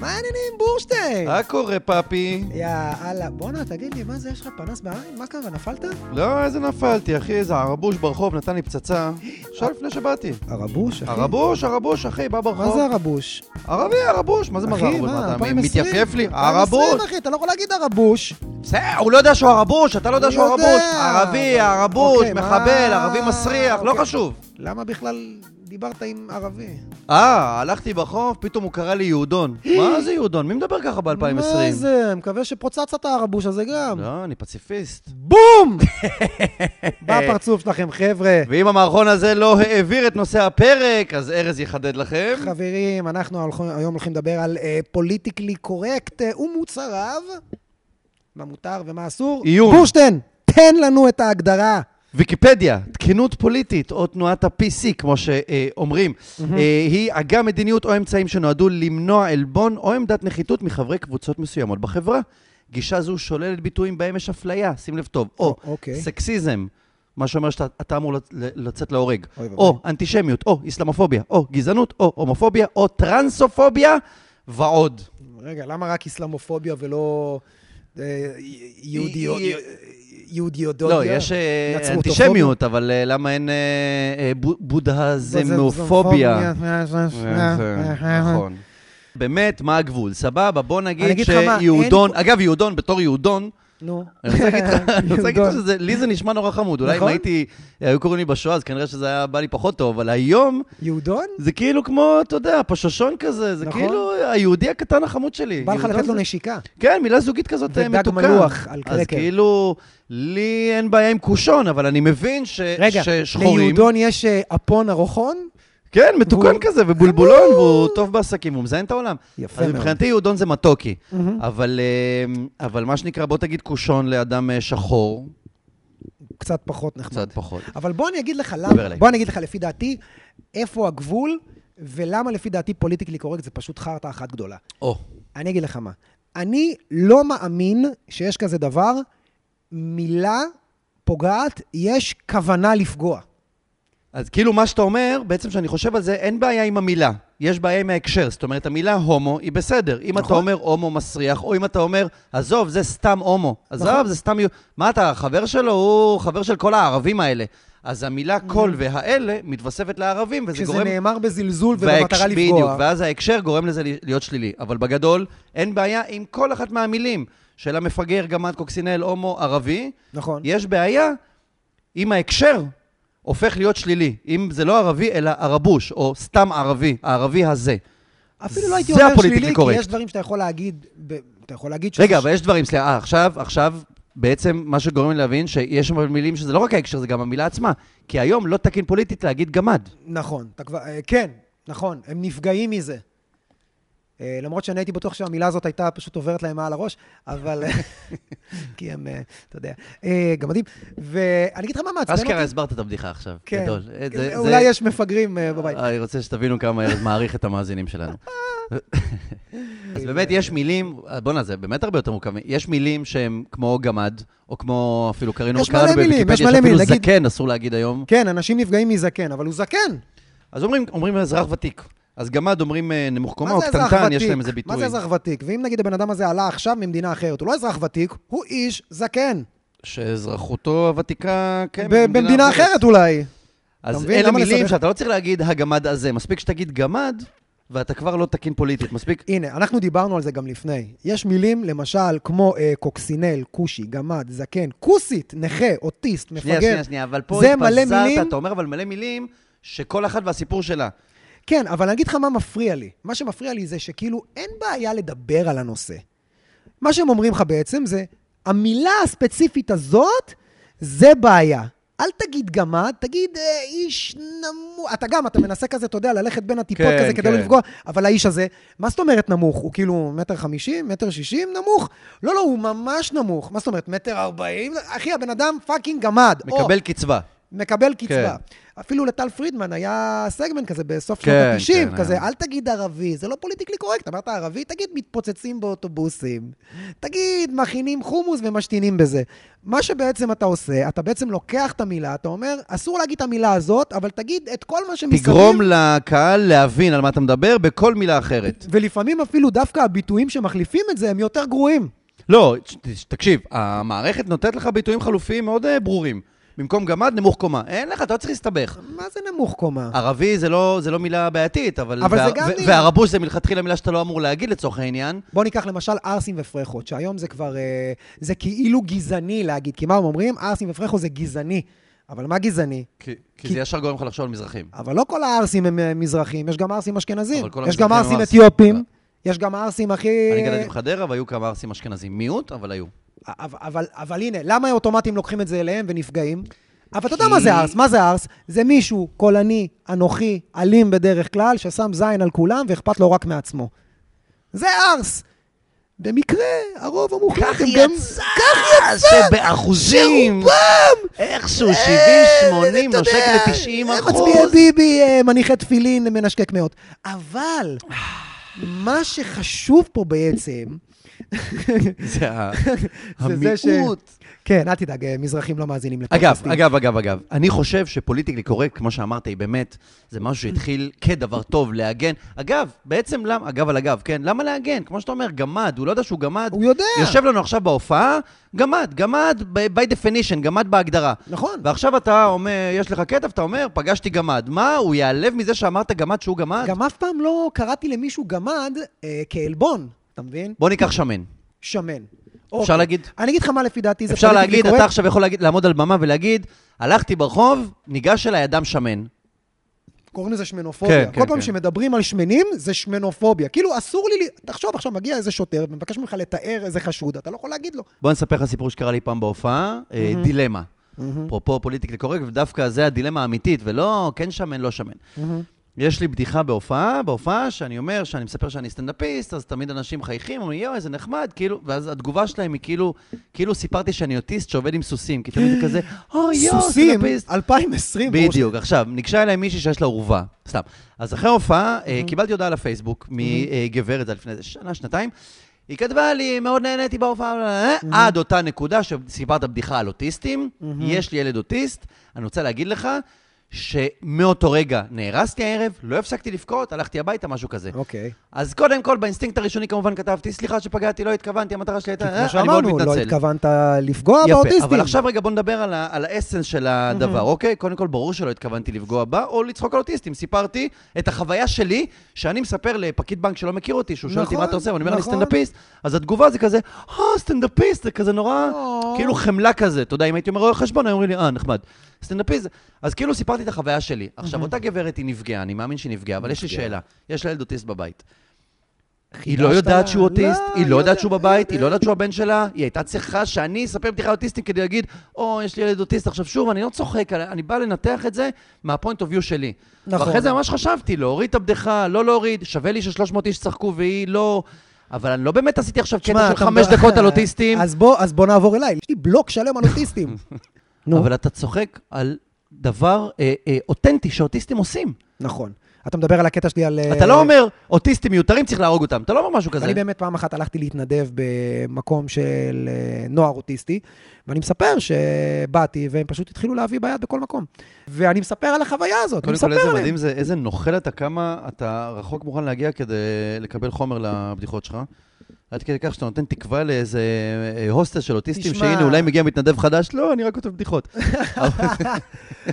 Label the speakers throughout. Speaker 1: מה העניינים, בורשטיין?
Speaker 2: מה קורה, פאפי?
Speaker 1: יאללה, בואנה, תגיד לי, מה זה, יש לך פנס בעין? מה קרה, נפלת?
Speaker 2: לא, איזה נפלתי, אחי, איזה ערבוש ברחוב נתן לי פצצה. שעה לפני שבאתי.
Speaker 1: הרבוש, אחי.
Speaker 2: ערבוש, ערבוש, אחי, בא
Speaker 1: מה זה
Speaker 2: ברחוב.
Speaker 1: הרבוש?
Speaker 2: ערבי, ערבוש, מה זה מה זה
Speaker 1: אחי,
Speaker 2: ערבוש?
Speaker 1: מה,
Speaker 2: מה, אתה
Speaker 1: 2020?
Speaker 2: מתייפייף לי?
Speaker 1: 2020,
Speaker 2: ערבוש!
Speaker 1: אחי, אתה לא יכול להגיד הרבוש.
Speaker 2: בסדר, הוא לא יודע שהוא ערבוש, אתה לא יודע
Speaker 1: הוא
Speaker 2: שהוא
Speaker 1: יודע.
Speaker 2: ערבוש. ערבי, ערבוש,
Speaker 1: אוקיי,
Speaker 2: מחבל,
Speaker 1: מה?
Speaker 2: ערבי מסריח, לא
Speaker 1: אוקיי.
Speaker 2: חשוב.
Speaker 1: למה בכלל דיברת עם ערבי?
Speaker 2: אה, הלכתי ברחוב, פתאום הוא קרא לי יהודון. מה זה יהודון? מי מדבר ככה ב-2020?
Speaker 1: מה זה? מקווה שפוצצת הרבוש הזה גם.
Speaker 2: לא, אני פציפיסט.
Speaker 1: בום! בפרצוף שלכם, חבר'ה.
Speaker 2: ואם המערכון הזה לא העביר את נושא הפרק, אז ארז יחדד לכם.
Speaker 1: חברים, אנחנו הולכים- היום הולכים לדבר על אה, פוליטיקלי קורקט אה, ומוצריו. מה מותר ומה אסור.
Speaker 2: עיון.
Speaker 1: בורשטיין, תן לנו את ההגדרה.
Speaker 2: ויקיפדיה, תקינות פוליטית, או תנועת ה-PC, כמו שאומרים, אה, היא אגה מדיניות או אמצעים שנועדו למנוע עלבון או עמדת נחיתות מחברי קבוצות מסוימות בחברה. גישה זו שוללת ביטויים בהם יש אפליה, שים לב טוב, או
Speaker 1: אוקיי.
Speaker 2: סקסיזם, מה שאומר שאתה אתה אמור לצ- ל- לצאת להורג,
Speaker 1: אוי ואבוי.
Speaker 2: או אנטישמיות, או איסלאמופוביה, או גזענות, או הומופוביה, או טרנסופוביה, ועוד.
Speaker 1: רגע, למה רק איסלאמופוביה ולא אה, י- יהודיות?
Speaker 2: אי-
Speaker 1: יהודיודודיה?
Speaker 2: לא, יש אה,
Speaker 1: נצרותופוביה?
Speaker 2: אנטישמיות, אבל אה, למה אין אה, אה, בו-
Speaker 1: לא,
Speaker 2: בודהזמנופוביה?
Speaker 1: אה,
Speaker 2: נכון. באמת, מה הגבול? סבבה, בוא
Speaker 1: אני
Speaker 2: נגיד
Speaker 1: אגיד לך מה,
Speaker 2: שיהודון,
Speaker 1: אין
Speaker 2: אגב, יהודון, בתור יהודון,
Speaker 1: אה, נו.
Speaker 2: אני רוצה להגיד לך- אני רוצה להגיד לך שזה, לי זה נשמע נורא חמוד. אולי אם
Speaker 1: נכון.
Speaker 2: הייתי, היו קוראים לי בשואה, אז כנראה שזה היה בא לי פחות טוב, אבל היום
Speaker 1: יהודון?
Speaker 2: זה כאילו כמו, אתה יודע, פשושון כזה, זה
Speaker 1: נכון.
Speaker 2: כאילו היהודי הקטן החמוד שלי.
Speaker 1: בא לך
Speaker 2: יהודון
Speaker 1: לתת לו
Speaker 2: זה-
Speaker 1: נשיקה.
Speaker 2: כן, מילה זוגית כזאת אה,
Speaker 1: ודג
Speaker 2: מתוקה.
Speaker 1: מלוח על
Speaker 2: אז
Speaker 1: קרקר.
Speaker 2: כאילו, לי אין בעיה עם קושון, אבל אני מבין ש-
Speaker 1: רגע,
Speaker 2: ששחורים...
Speaker 1: ליהודון יש אה, אפון ארוחון?
Speaker 2: כן, מתוקן
Speaker 1: והוא-
Speaker 2: כזה, ובולבולון, והוא טוב בעסקים, הוא מזיין את העולם.
Speaker 1: יפה
Speaker 2: אז
Speaker 1: מאוד.
Speaker 2: מבחינתי יהודון זה מתוקי.
Speaker 1: מהמם.
Speaker 2: אבל, אה, אבל מה שנקרא, בוא תגיד קושון לאדם אה, שחור,
Speaker 1: קצת פחות נחמד.
Speaker 2: קצת פחות.
Speaker 1: אבל בוא אני אגיד לך
Speaker 2: דבר
Speaker 1: למה,
Speaker 2: אליי.
Speaker 1: בוא אני אגיד לך לפי דעתי, איפה הגבול, ולמה לפי דעתי פוליטיקלי קורקט זה פשוט חרטא אחת גדולה.
Speaker 2: או,
Speaker 1: אני אגיד לך מה. אני לא מאמין שיש כזה דבר, מילה פוגעת, יש כוונה לפגוע.
Speaker 2: אז כאילו מה שאתה אומר, בעצם כשאני חושב על זה, אין בעיה עם המילה, יש בעיה עם ההקשר. זאת אומרת, המילה הומו היא בסדר. אם אתה
Speaker 1: נכון.
Speaker 2: אומר הומו מסריח, או אם אתה אומר, עזוב, זה סתם הומו. עזוב,
Speaker 1: נכון.
Speaker 2: זה סתם... יו-" מה אתה, חבר שלו הוא חבר של כל הערבים האלה. אז המילה כל והאלה מתווספת לערבים, וזה
Speaker 1: כשזה
Speaker 2: גורם...
Speaker 1: נאמר בזלזול
Speaker 2: וההקש-
Speaker 1: ובמטרה לפגוע.
Speaker 2: בדיוק, ואז ההקשר גורם לזה לי- להיות שלילי. אבל בגדול, אין בעיה עם כל אחת מהמילים של המפגר, גמד, קוקסינל, הומו, ערבי.
Speaker 1: נכון.
Speaker 2: יש בעיה אם ההקשר הופך להיות שלילי. אם זה לא ערבי, אלא ערבוש, או סתם ערבי, הערבי הזה.
Speaker 1: אפילו לא הייתי
Speaker 2: זה
Speaker 1: אומר
Speaker 2: הפוליטיקלי
Speaker 1: שלילי, כי
Speaker 2: קורקט.
Speaker 1: יש דברים שאתה יכול להגיד, ב- אתה יכול להגיד שזה
Speaker 2: רגע,
Speaker 1: ש-
Speaker 2: אבל יש דברים, סליחה, אה, עכשיו, עכשיו, בעצם מה שגורם לי להבין, שיש שם מילים שזה לא רק ההקשר, זה גם המילה עצמה. כי היום לא תקין פוליטית להגיד גמד.
Speaker 1: נכון, אתה כבר, אה, כן, נכון, הם נפגעים מזה. אה, למרות שאני הייתי בטוח שהמילה הזאת הייתה פשוט עוברת להם מעל הראש, אבל... כי הם, אה, אתה יודע, אה, גמדים. ואני אגיד לך מה מעצבן אותי.
Speaker 2: אשכרה הסברת את הבדיחה עכשיו.
Speaker 1: כן.
Speaker 2: גדול. אה,
Speaker 1: כן,
Speaker 2: זה- זה-
Speaker 1: אולי יש מפגרים אה, בבית.
Speaker 2: אני רוצה שתבינו כמה ארז מעריך את המאזינים שלנו. אז באמת יש מילים, בואנה, זה באמת הרבה יותר מורכב. יש מילים שהן כמו גמד, או כמו אפילו קראנו,
Speaker 1: יש
Speaker 2: קראנו
Speaker 1: מלא מילים,
Speaker 2: בוויקיפדיה,
Speaker 1: יש מלא
Speaker 2: שאפילו
Speaker 1: מילים, נגיד-
Speaker 2: זקן אסור להגיד היום.
Speaker 1: כן, אנשים נפגעים מזקן, אבל הוא זקן.
Speaker 2: אז אומרים- אומרים אזרח ותיק. אז גמד אומרים אה, נמוך קומה
Speaker 1: מה
Speaker 2: או
Speaker 1: זה אזרח
Speaker 2: קטנטן, יש
Speaker 1: ותיק?
Speaker 2: להם איזה
Speaker 1: מה
Speaker 2: ביטוי.
Speaker 1: זה אזרח ותיק? ואם נגיד הבן אדם הזה עלה עכשיו ממדינה אחרת, הוא לא אזרח ותיק, הוא איש זקן.
Speaker 2: שאזרחותו הוותיקה, כן,
Speaker 1: ב- במדינה אחרת אולי.
Speaker 2: אז
Speaker 1: מבין?
Speaker 2: אלה
Speaker 1: למה
Speaker 2: מילים
Speaker 1: לסבך?
Speaker 2: שאתה לא צריך להגיד הגמד הזה, מספיק שתגיד גמד, ואתה כבר לא תקין פוליטית, מספיק.
Speaker 1: הנה, אנחנו דיברנו על זה גם לפני. יש מילים, למשל, כמו אה, קוקסינל, כושי, גמד, זקן, כוסית, נכה, אוטיסט, מפגר.
Speaker 2: שנייה, שנייה, שנייה, אבל פה
Speaker 1: זה מלא מילים.
Speaker 2: התפזרת, אתה אומר אבל מלא מילים, שכל אחת והסיפור שלה.
Speaker 1: כן, אבל אני אגיד לך מה מפריע לי. מה שמפריע לי זה שכאילו אין בעיה לדבר על הנושא. מה שהם אומרים לך בעצם זה, המילה הספציפית הזאת, זה בעיה. אל תגיד גמד, תגיד אה, איש נמוך. אתה גם, אתה מנסה כזה, אתה יודע, ללכת בין הטיפות
Speaker 2: כן,
Speaker 1: כזה כדי לא
Speaker 2: כן.
Speaker 1: לפגוע, אבל האיש הזה, מה זאת אומרת נמוך? הוא כאילו מטר חמישים, מטר שישים, נמוך? לא, לא, הוא ממש נמוך. מה זאת אומרת, מטר ארבעים? אחי, הבן אדם פאקינג גמד. או,
Speaker 2: מקבל קצבה.
Speaker 1: מקבל קצבה. אפילו לטל פרידמן היה סגמנט כזה בסוף
Speaker 2: כן,
Speaker 1: שנות ה-90,
Speaker 2: כן,
Speaker 1: כזה,
Speaker 2: היה.
Speaker 1: אל תגיד ערבי, זה לא פוליטיקלי קורקט. אמרת ערבי, תגיד מתפוצצים באוטובוסים. תגיד, מכינים חומוס ומשתינים בזה. מה שבעצם אתה עושה, אתה בעצם לוקח את המילה, אתה אומר, אסור להגיד את המילה הזאת, אבל תגיד את כל מה שמסביב.
Speaker 2: תגרום לקהל להבין על מה אתה מדבר בכל מילה אחרת.
Speaker 1: ולפעמים אפילו דווקא הביטויים שמחליפים את זה הם יותר גרועים.
Speaker 2: לא, ש- ש- תקשיב, המערכת נותנת לך ביטויים חלופיים מאוד אה, ברורים. במקום גמד, נמוך קומה. אין לך, אתה לא צריך להסתבך.
Speaker 1: מה זה נמוך קומה?
Speaker 2: ערבי זה לא, זה לא מילה בעייתית, אבל...
Speaker 1: אבל זה גם
Speaker 2: ו-
Speaker 1: מילה.
Speaker 2: והרבוש זה מלכתחילה מילה שאתה לא אמור להגיד לצורך העניין.
Speaker 1: בוא ניקח למשל ערסים ופרחות, שהיום זה כבר, אה, זה כאילו גזעני להגיד, כי מה הם אומרים? ערסים ופרחות זה גזעני. אבל מה גזעני?
Speaker 2: כי, כי
Speaker 1: כי-
Speaker 2: זה ישר גורם לך לחשוב על מזרחים.
Speaker 1: אבל לא כל הערסים הם אה, מזרחים, יש גם ערסים אשכנזים,
Speaker 2: אבל כל
Speaker 1: יש גם
Speaker 2: המזרחים הם
Speaker 1: ערסים
Speaker 2: ערסים. אה.
Speaker 1: אתיופים, יש גם ערסים הכי...
Speaker 2: אני גדלתי בחדרה והיו כמה ערסים אשכנזים. מיעוט, אבל היו.
Speaker 1: אבל, אבל, אבל הנה, למה האוטומטים לוקחים את זה אליהם ונפגעים? אבל אתה יודע
Speaker 2: כי-
Speaker 1: מה זה ארס, מה זה ארס? זה מישהו קולני, אנוכי, אלים בדרך כלל, ששם זין על כולם ואכפת לו רק מעצמו. זה ארס. במקרה, הרוב המוחלט הם גם...
Speaker 2: כך יצא! שבאחוזים, איכשהו 70-80
Speaker 1: אה, אתה
Speaker 2: נושק
Speaker 1: יודע,
Speaker 2: ל-90
Speaker 1: הם
Speaker 2: אחוז.
Speaker 1: מצביעי ביבי, אה, מניחי תפילין, מנשקק מאות. אבל, מה שחשוב פה בעצם,
Speaker 2: זה ה-
Speaker 1: זה ש-
Speaker 2: המיעוט.
Speaker 1: כן, אל תדאג, אה, מזרחים לא מאזינים
Speaker 2: אגב,
Speaker 1: לפודקאסטים.
Speaker 2: אגב, אגב, אגב, אני חושב שפוליטיקלי קורקט, כמו שאמרת, היא באמת, זה משהו שהתחיל כדבר טוב, להגן. אגב, בעצם למה, אגב על אגב, כן, למה להגן? כמו שאתה אומר, גמד, הוא לא יודע שהוא גמד.
Speaker 1: הוא יודע.
Speaker 2: יושב לנו עכשיו בהופעה, גמד, גמד ב- by definition, גמד בהגדרה.
Speaker 1: נכון.
Speaker 2: ועכשיו אתה אומר, יש לך כתב, אתה אומר, פגשתי גמד. מה, הוא ייעלב מזה שאמרת גמד שהוא גמד?
Speaker 1: גם אף פעם לא קראתי למישהו גמד אה, כעלבון, אתה מבין?
Speaker 2: בוא ניקח שמן.
Speaker 1: שמן. אוקיי.
Speaker 2: אפשר להגיד?
Speaker 1: אני אגיד לך מה לפי דעתי זה
Speaker 2: אפשר
Speaker 1: פוליטיקלי
Speaker 2: להגיד,
Speaker 1: קורקט.
Speaker 2: אתה עכשיו יכול להגיד- לעמוד על במה ולהגיד, הלכתי ברחוב, ניגש אליי אדם שמן.
Speaker 1: קוראים לזה שמנופוביה.
Speaker 2: כן,
Speaker 1: כל
Speaker 2: כן,
Speaker 1: פעם
Speaker 2: כן.
Speaker 1: שמדברים על שמנים, זה שמנופוביה. כאילו, אסור לי... ל- תחשוב, עכשיו מגיע איזה שוטר ומבקש ממך לתאר איזה חשוד, אתה לא יכול להגיד לו.
Speaker 2: בוא נספר לך סיפור שקרה לי פעם בהופעה, אה, דילמה. אפרופו פוליטיקלי קורקט, ודווקא זה הדילמה האמיתית, ולא כן שמן, לא שמן. יש לי בדיחה בהופעה, בהופעה שאני אומר, שאני מספר שאני סטנדאפיסט, אז תמיד אנשים מחייכים, אומרים, יואו, איזה נחמד, כאילו, ואז התגובה שלהם היא כאילו, כאילו סיפרתי שאני אוטיסט שעובד עם סוסים, כי תמיד זה כזה, או יואו,
Speaker 1: סוסים,
Speaker 2: סטנדאפיסט.
Speaker 1: 2020. ראש-
Speaker 2: בדיוק, עכשיו, ניגשה אליי מישהי שיש לה אורווה, סתם. אז אחרי ההופעה, אה, קיבלתי הודעה לפייסבוק מגברת, זה היה לפני איזה שנה, שנתיים. היא כתבה לי, מאוד נהניתי בהופעה, אה, עד אותה נקודה שסיפרת בדיחה על אוטיסטים. יש לי ילד אוטיסט, אני רוצה להגיד לך שמאותו רגע נהרסתי הערב, לא הפסקתי לבכות, הלכתי הביתה, משהו כזה.
Speaker 1: אוקיי.
Speaker 2: אז קודם כל, באינסטינקט הראשוני כמובן כתבתי, סליחה שפגעתי, לא התכוונתי, המטרה שלי הייתה,
Speaker 1: כמו
Speaker 2: אה, אני מאוד
Speaker 1: שאמרנו, לא
Speaker 2: מתנצל.
Speaker 1: התכוונת לפגוע
Speaker 2: יפה,
Speaker 1: באוטיסטים.
Speaker 2: אבל עכשיו רגע בוא נדבר על, ה- על האסנס של הדבר, אוקיי? קודם כל, ברור שלא התכוונתי לפגוע בה או לצחוק על אוטיסטים. סיפרתי את החוויה שלי, שאני מספר לפקיד בנק שלא מכיר אותי, שהוא שואל אותי מה
Speaker 1: נכון,
Speaker 2: אתה עושה, ואני אומר, אני
Speaker 1: נכון.
Speaker 2: סטנדאפיסט. אז התגובה זה כזה, אה, סטנדאפיסט, זה כזה נורא,
Speaker 1: או.
Speaker 2: כאילו חמלה כזה. אתה יודע, אם הייתי אומר רואה חשבון, היו אומרים לי, אה, נחמד. סטנדאפיסט, אז כאילו סיפרתי את החוויה שלי. עכשיו, אותה גברת היא נפגעה, אני מאמין שהיא נפגעה, אבל יש לי
Speaker 1: נפגעה.
Speaker 2: שאלה. יש לה ילד אוטיסט בבית. היא
Speaker 1: חידשת
Speaker 2: לא יודעת שהוא
Speaker 1: לה?
Speaker 2: אוטיסט,
Speaker 1: לא,
Speaker 2: היא
Speaker 1: יודע-
Speaker 2: לא יודעת שהוא בבית, היא
Speaker 1: יודע.
Speaker 2: לא יודעת שהוא הבן שלה, היא הייתה צריכה שאני אספר בדיחה אוטיסטית כדי להגיד, או, יש לי ילד אוטיסט. עכשיו שוב, אני לא צוחק, אני- אני בא לנתח את זה מהפוינט אוף יו שלי.
Speaker 1: נכון.
Speaker 2: נכון. ואחרי זה ממש חשבתי, להוריד את הבדיחה, לא להוריד, שווה לי ש-300 איש צחקו והיא לא... אבל אני לא באמת עשיתי עכשיו
Speaker 1: תשמע,
Speaker 2: קטע של
Speaker 1: אתה-
Speaker 2: חמש דקות על אוטיסטים,
Speaker 1: אז בוא- אז בוא נעבור אליי, יש לי בלוק שלם על אוטיסטים. נו,
Speaker 2: אבל אתה צוחק על דבר אה, אה, אותנטי שאוטיסטים עושים.
Speaker 1: נכון. אתה מדבר על הקטע שלי על...
Speaker 2: אתה
Speaker 1: אה,
Speaker 2: לא אומר, אוטיסטים מיותרים, צריך להרוג אותם. אתה לא אומר משהו כזה.
Speaker 1: אני באמת פעם אחת הלכתי להתנדב במקום של אה, נוער אוטיסטי, ואני מספר שבאתי והם פשוט התחילו להביא ביד בכל מקום. ואני מספר על החוויה הזאת, אני
Speaker 2: קודם
Speaker 1: מספר
Speaker 2: כל, איזה
Speaker 1: עליהם.
Speaker 2: מדהים זה, איזה נוכל אתה, כמה אתה רחוק מוכן להגיע כדי לקבל חומר לבדיחות שלך. עד כדי כך שאתה נותן תקווה לאיזה אה, הוסטס של אוטיסטים,
Speaker 1: תשמע-
Speaker 2: שהנה, אולי מגיע מתנדב חדש, לא, אני רק כותב בדיחות.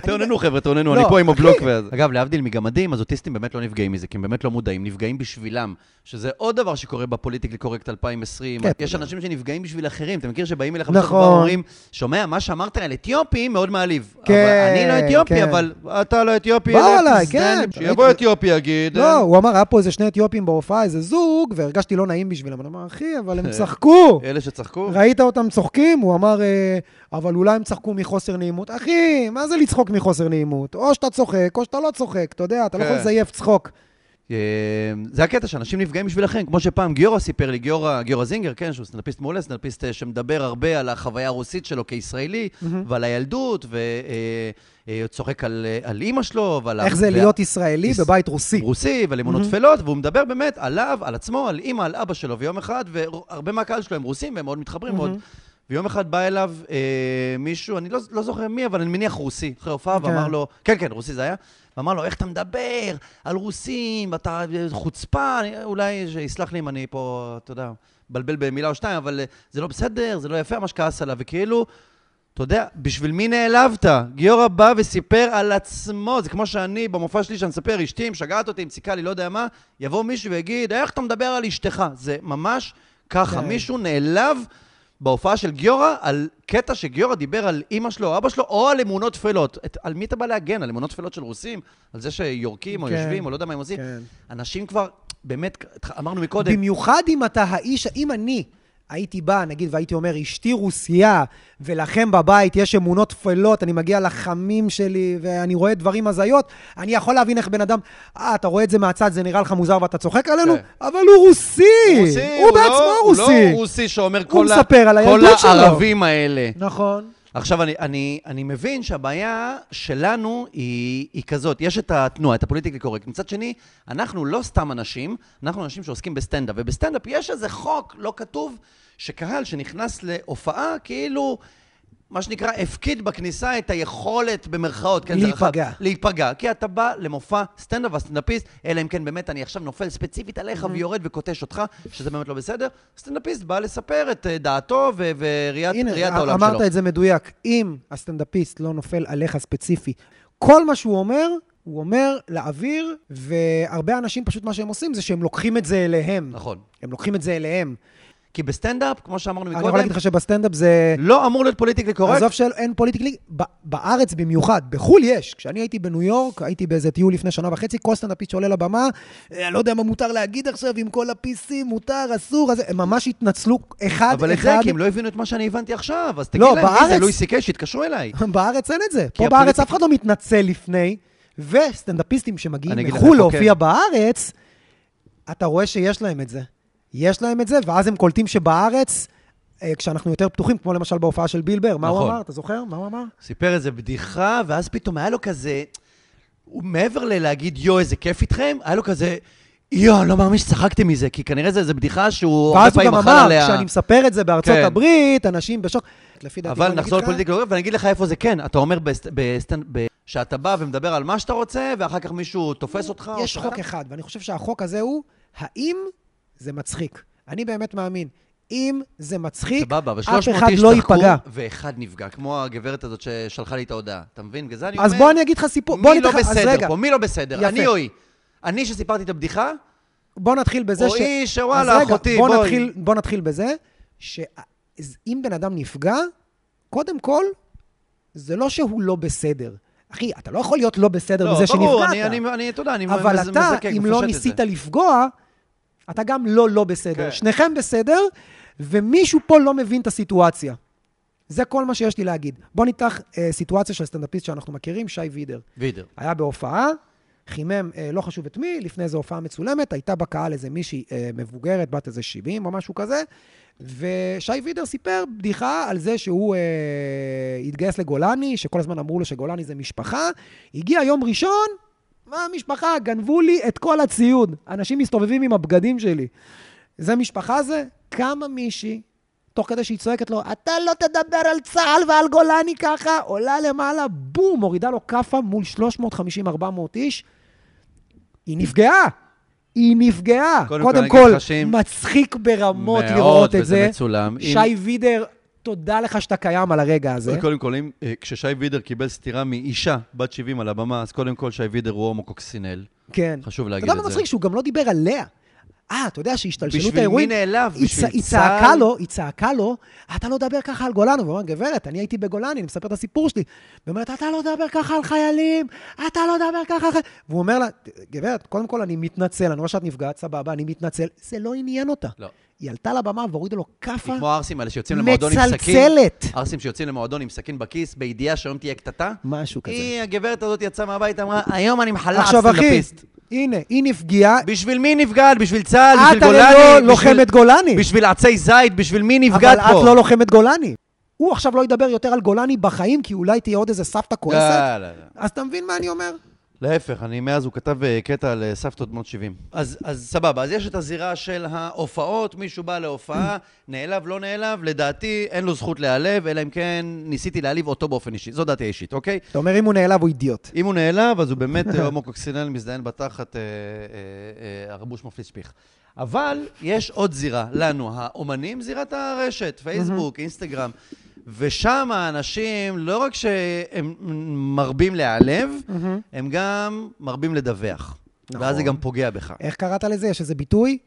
Speaker 2: תאוננו, חבר'ה, תאוננו,
Speaker 1: לא,
Speaker 2: אני פה עם הבלוק. ואז- אגב, להבדיל מגמדים, אז אוטיסטים באמת לא נפגעים מזה, כי הם באמת לא מודעים, נפגעים בשבילם, שזה עוד דבר שקורה בפוליטיקלי קורקט 2020.
Speaker 1: כן.
Speaker 2: יש אנשים שנפגעים בשביל אחרים, אתה מכיר שבאים אליך
Speaker 1: נכון.
Speaker 2: בסוף ואומרים, שומע, מה שאמרת על אתיופים מאוד מעליב. אבל
Speaker 1: כן,
Speaker 2: אני לא אתיופי,
Speaker 1: כן.
Speaker 2: אבל אתה לא אתיופי.
Speaker 1: באו
Speaker 2: אלף
Speaker 1: עליי,
Speaker 2: תזדיין
Speaker 1: כן.
Speaker 2: לי. שיבוא אתיופי, יגיד.
Speaker 1: לא, הוא אמר, היה פה איזה שני אתיופים בהופעה, איזה זוג, והרגשתי לא נעים בשבילם. אני אומר, אחי, אבל הם צחקו.
Speaker 2: אלה שצחקו.
Speaker 1: ראית אותם צוחקים? הוא אמר, "אה, אבל אולי הם צחקו מחוסר נעימות. אחי, מה זה לצחוק מחוסר נעימות? או שאתה צוחק, או שאתה לא צוחק, אתה יודע, אתה לא יכול
Speaker 2: כן.
Speaker 1: לזייף צחוק.
Speaker 2: אה, זה הקטע שאנשים נפגעים בשבילכם, כמו שפעם גיורא סיפר לי, גיורא, גיורא זינגר, כן, שהוא סטנדאפיסט מעולה, סטנדאפיסט אה, שמדבר הרבה על החוויה הרוסית שלו כישראלי, ועל הילדות, וצוחק על, אה, על אימא שלו, ועל... ה-
Speaker 1: איך זה
Speaker 2: וה-
Speaker 1: להיות ישראלי
Speaker 2: יש-
Speaker 1: בבית רוסי?
Speaker 2: רוסי, ועל אמונות
Speaker 1: Mhm.
Speaker 2: טפלות, והוא מדבר באמת עליו, על עצמו, על אימא, על אבא שלו, ויום אחד, והרבה מהקהל שלו הם רוסים, והם מאוד מתחברים מאוד. ויום אחד בא אליו אה, מישהו, אני לא, לא זוכר מי, אבל אני מניח רוסי, אחרי הופעה,
Speaker 1: כן.
Speaker 2: ואמר לו, כן, כן, רוסי זה היה, ואמר לו, איך אתה מדבר על רוסים, אתה אה, חוצפה, אני, אולי, שיסלח לי אם אני פה, אתה יודע, מבלבל במילה או שתיים, אבל אה, זה לא בסדר, זה לא יפה, ממש כעס עליו, וכאילו, אתה יודע, בשביל מי נעלבת? גיורא בא וסיפר על עצמו, זה כמו שאני, במופע שלי שאני מספר, אשתי משגעת אותי, מציקה לי, לא יודע מה, יבוא מישהו ויגיד, איך אתה מדבר על אשתך? זה ממש ככה,
Speaker 1: כן.
Speaker 2: מישהו נעלב בהופעה של גיורא על קטע שגיורא דיבר על אימא שלו או אבא שלו, או על אמונות טפלות. את- על מי אתה בא להגן? על אמונות טפלות של רוסים? על זה שיורקים או
Speaker 1: כן.
Speaker 2: יושבים או לא יודע מה הם עושים?
Speaker 1: כן.
Speaker 2: אנשים כבר, באמת, אמרנו מקודם,
Speaker 1: במיוחד אם אתה האיש, אם אני הייתי בא, נגיד, והייתי אומר, אשתי רוסייה, ולכם בבית יש אמונות טפלות, אני מגיע לחמים שלי, ואני רואה דברים הזיות, אני יכול להבין איך בן אדם, אה, אתה רואה את זה מהצד, זה נראה לך מוזר ואתה צוחק עלינו,
Speaker 2: כן.
Speaker 1: אבל הוא רוסי!
Speaker 2: רוסי,
Speaker 1: הוא בעצמו
Speaker 2: לא, הוא
Speaker 1: רוסי!
Speaker 2: לא רוסי שאומר
Speaker 1: הוא
Speaker 2: כל, ה-
Speaker 1: מספר על
Speaker 2: כל
Speaker 1: הילדות שלו."
Speaker 2: הערבים האלה.
Speaker 1: נכון.
Speaker 2: עכשיו, אני, אני, אני מבין שהבעיה שלנו היא, היא כזאת, יש את התנועה, את הפוליטיקלי קורקט. מצד שני, אנחנו לא סתם אנשים, אנחנו אנשים שעוסקים בסטנדאפ, ובסטנדאפ יש איזה חוק לא כתוב, שקהל שנכנס להופעה, כאילו, מה שנקרא, הפקיד בכניסה את היכולת, במרכאות, כן, זה רחב.
Speaker 1: להיפגע.
Speaker 2: להיפגע, כי אתה בא למופע סטנדאפ והסטנדאפיסט, אלא אם כן באמת אני עכשיו נופל ספציפית עליך ויורד וכותש אותך, שזה באמת לא בסדר, סטנדאפיסט בא לספר את אה, דעתו ו- וראיית
Speaker 1: הנה, אה,
Speaker 2: ראיית העולם שלו.
Speaker 1: אמרת את זה מדויק. אם הסטנדאפיסט לא נופל עליך ספציפי, כל מה שהוא אומר, הוא אומר לאוויר, והרבה אנשים פשוט מה שהם עושים זה שהם לוקחים את זה אליהם.
Speaker 2: נכון.
Speaker 1: הם לוקחים את זה אליהם.
Speaker 2: כי בסטנדאפ, כמו שאמרנו
Speaker 1: אני יכול
Speaker 2: מקודם,
Speaker 1: להגיד לך שבסטנדאפ זה...
Speaker 2: לא אמור להיות פוליטיקלי קורקט.
Speaker 1: עזוב שאין פוליטיקלי, ב- בארץ במיוחד, בחו"ל יש. כשאני הייתי בניו יורק, הייתי באיזה טיול לפני שנה וחצי, כל סטנדאפיסט שעולה לבמה, אה, אני לא יודע מה מותר להגיד עכשיו, עם כל ה-PC, מותר, אסור, אז הם ממש התנצלו אחד-אחד.
Speaker 2: אבל את זה, כי הם לא הבינו את מה שאני הבנתי עכשיו, אז תגיד
Speaker 1: לא,
Speaker 2: להם, מי זה
Speaker 1: בארץ-
Speaker 2: לואי סי קיי, שיתקשרו אליי.
Speaker 1: בארץ אין את זה. פה
Speaker 2: הפוליטיק-
Speaker 1: בארץ אף אחד לא מתנצל לפני, וסטנדאפיסטים שמגיעים
Speaker 2: אני אגיד לך אוקיי.
Speaker 1: מחו"ל
Speaker 2: איפה
Speaker 1: להופיע בארץ, אתה רואה שיש להם את זה. יש להם את זה, ואז הם קולטים שבארץ, אה, כשאנחנו יותר פתוחים, כמו למשל בהופעה של ביל בר, מה הוא
Speaker 2: נכון.
Speaker 1: אמר? אתה זוכר? מה הוא אמר?
Speaker 2: סיפר איזה בדיחה, ואז פתאום היה לו כזה, הוא מעבר ללהגיד, יואו, איזה כיף איתכם, היה לו כזה, יואו, אני לא מאמין שצחקתי מזה, כי כנראה זה איזה בדיחה שהוא הרבה
Speaker 1: ואז הוא
Speaker 2: פעמים
Speaker 1: גם
Speaker 2: אכל
Speaker 1: אמר,
Speaker 2: עליה.
Speaker 1: כשאני מספר את זה בארצות
Speaker 2: כן.
Speaker 1: הברית, אנשים בשוק. לפי דעתי, בוא
Speaker 2: אבל
Speaker 1: נגיד
Speaker 2: נחזור
Speaker 1: לך,
Speaker 2: לפוליטיקלי קורקט, ואני אגיד לך איפה זה כן. אתה אומר בסט- בסטנד... ב- שאתה בא ומדבר על מה שאתה רוצה, ואחר כך מישהו תופס אותך. או
Speaker 1: יש
Speaker 2: שאתה-
Speaker 1: חוק אחד, ואני חושב שהחוק הזה הוא, האם זה מצחיק. אני באמת מאמין. אם זה מצחיק,
Speaker 2: סבבה, אבל
Speaker 1: אף
Speaker 2: 300
Speaker 1: אחד
Speaker 2: איש
Speaker 1: לא
Speaker 2: צחקו,
Speaker 1: ייפגע.
Speaker 2: ואחד נפגע, כמו הגברת הזאת ששלחה לי את ההודעה. אתה מבין? בגלל זה אני אומר...
Speaker 1: אז בוא אני אגיד לך סיפור. בוא אני
Speaker 2: מי לא
Speaker 1: אתן לך- אז רגע,
Speaker 2: בסדר פה? מי לא בסדר?
Speaker 1: יפה.
Speaker 2: אני או היא? אני שסיפרתי את הבדיחה?
Speaker 1: בוא נתחיל בזה
Speaker 2: או
Speaker 1: ש...
Speaker 2: היא שוואלה,
Speaker 1: אז רגע,
Speaker 2: אחותי,
Speaker 1: בוא
Speaker 2: בואי. לא,
Speaker 1: נתחיל, בוא נתחיל בזה, שאם בן אדם נפגע, קודם כל, זה לא שהוא לא בסדר. אחי, אתה לא יכול להיות לא בסדר
Speaker 2: לא,
Speaker 1: בזה
Speaker 2: ברור,
Speaker 1: שנפגעת.
Speaker 2: אני- אני, אני, אתה יודע, אני
Speaker 1: אבל
Speaker 2: מז-
Speaker 1: אתה,
Speaker 2: מזקק,
Speaker 1: אם
Speaker 2: מפשט
Speaker 1: לא
Speaker 2: את
Speaker 1: ניסית
Speaker 2: זה.
Speaker 1: לפגוע, אתה גם לא לא בסדר.
Speaker 2: כן.
Speaker 1: שניכם בסדר, ומישהו פה לא מבין את הסיטואציה. זה כל מה שיש לי להגיד. בוא ניקח אה, סיטואציה של סטנדאפיסט שאנחנו מכירים, שי וידר.
Speaker 2: וידר.
Speaker 1: היה בהופעה, חימם, אה, לא חשוב את מי, לפני איזו הופעה מצולמת, הייתה בקהל איזה מישהי אה, מבוגרת, בת איזה 70 או משהו כזה, ושי וידר סיפר בדיחה על זה שהוא אה, התגייס לגולני, שכל הזמן אמרו לו שגולני זה משפחה. הגיע יום ראשון, מה המשפחה? גנבו לי את כל הציוד. אנשים מסתובבים עם הבגדים שלי. זה משפחה זה? קמה מישהי, תוך כדי שהיא צועקת לו, אתה לא תדבר על צה"ל ועל גולני ככה, עולה למעלה, בום, מורידה לו כאפה מול 350-400 איש. היא נפגעה. היא נפגעה.
Speaker 2: קודם
Speaker 1: קודם,
Speaker 2: כל, אני
Speaker 1: קודם
Speaker 2: אגיד
Speaker 1: כל,
Speaker 2: לך שאם-
Speaker 1: מצחיק ברמות
Speaker 2: מאוד,
Speaker 1: לראות את
Speaker 2: וזה
Speaker 1: זה.
Speaker 2: מצולם. אם-
Speaker 1: שי וידר, תודה לך שאתה קיים על הרגע הזה.
Speaker 2: קודם כל, אם, אה, כששי וידר קיבל סטירה מאישה בת 70 על הבמה, אז קודם כל שי וידר הוא הומו קוקסינל.
Speaker 1: כן.
Speaker 2: חשוב
Speaker 1: אתה
Speaker 2: להגיד
Speaker 1: יודע
Speaker 2: את
Speaker 1: מה
Speaker 2: זה.
Speaker 1: מצחיק? שהוא גם לא דיבר עליה. אה, אתה יודע שהשתלשלות
Speaker 2: בשביל מי
Speaker 1: האירועים...
Speaker 2: נעלב?
Speaker 1: היא
Speaker 2: בשביל
Speaker 1: צ- היא
Speaker 2: צה"ל?
Speaker 1: צעקה לו, היא צעקה לו, אתה לא מדבר ככה על גולן. הוא אמר, גברת, אני הייתי בגולני, אני מספר את הסיפור שלי. והיא אומרת, אתה לא מדבר ככה על חיילים, אתה לא מדבר ככה על חיילים. והוא אומר לה, גברת, קודם כל אני מתנצל, אני רואה שאת נפגעת, סבבה, אני מתנצל. זה לא עניין אותה.
Speaker 2: לא.
Speaker 1: היא עלתה לבמה והורידה לו
Speaker 2: היא
Speaker 1: כאפה
Speaker 2: כמו הערסים האלה שיוצאים למועדון עם סכין.
Speaker 1: מצלצלת.
Speaker 2: ערסים שיוצאים למועדון עם סכין בכיס, בידיעה שהיום תהיה קטטה.
Speaker 1: משהו כזה.
Speaker 2: היא, הגברת הזאת יצאה מהבית, אמרה, היום אני מחלה
Speaker 1: עכשיו, אחי,
Speaker 2: סטנדאפיסט.
Speaker 1: הנה, היא נפגעה.
Speaker 2: בשביל מי נפגעת? בשביל צה"ל?
Speaker 1: את
Speaker 2: בשביל
Speaker 1: הרי
Speaker 2: גולני?
Speaker 1: לא
Speaker 2: בשביל-
Speaker 1: לוחמת גולני.
Speaker 2: בשביל עצי זית? בשביל מי
Speaker 1: אבל
Speaker 2: נפגעת פה?
Speaker 1: את לא לוחמת גולני. הוא עכשיו לא ידבר יותר על גולני בחיים, כי אולי תהיה עוד איזה סבתא כועסת.
Speaker 2: לא, לא, לא.
Speaker 1: אז אתה מבין מה אני אומר?
Speaker 2: להפך, אני מאז הוא כתב אה, קטע על אה, סבתות בנות 70. אז, אז סבבה, אז יש את הזירה של ההופעות, מישהו בא להופעה, נעלב, לא נעלב, לדעתי אין לו זכות להיעלב, אלא אם כן ניסיתי להעליב אותו באופן אישי. זו דעתי האישית, אוקיי?
Speaker 1: אתה אומר, אם הוא נעלב, הוא אידיוט.
Speaker 2: אם הוא נעלב, אז הוא באמת אה, הומוקוקסינל מזדיין בתחת, אה, אה, אה, הרבוש מפליץ פיך. אבל יש עוד זירה, לנו, האומנים, זירת הרשת, פייסבוק,
Speaker 1: Mm-hmm.
Speaker 2: אינסטגרם. ושם האנשים, לא רק שהם מרבים להיעלב, הם גם מרבים לדווח. ואז זה
Speaker 1: Mm-hmm. נכון.
Speaker 2: גם פוגע בך.
Speaker 1: איך קראת לזה? יש איזה ביטוי?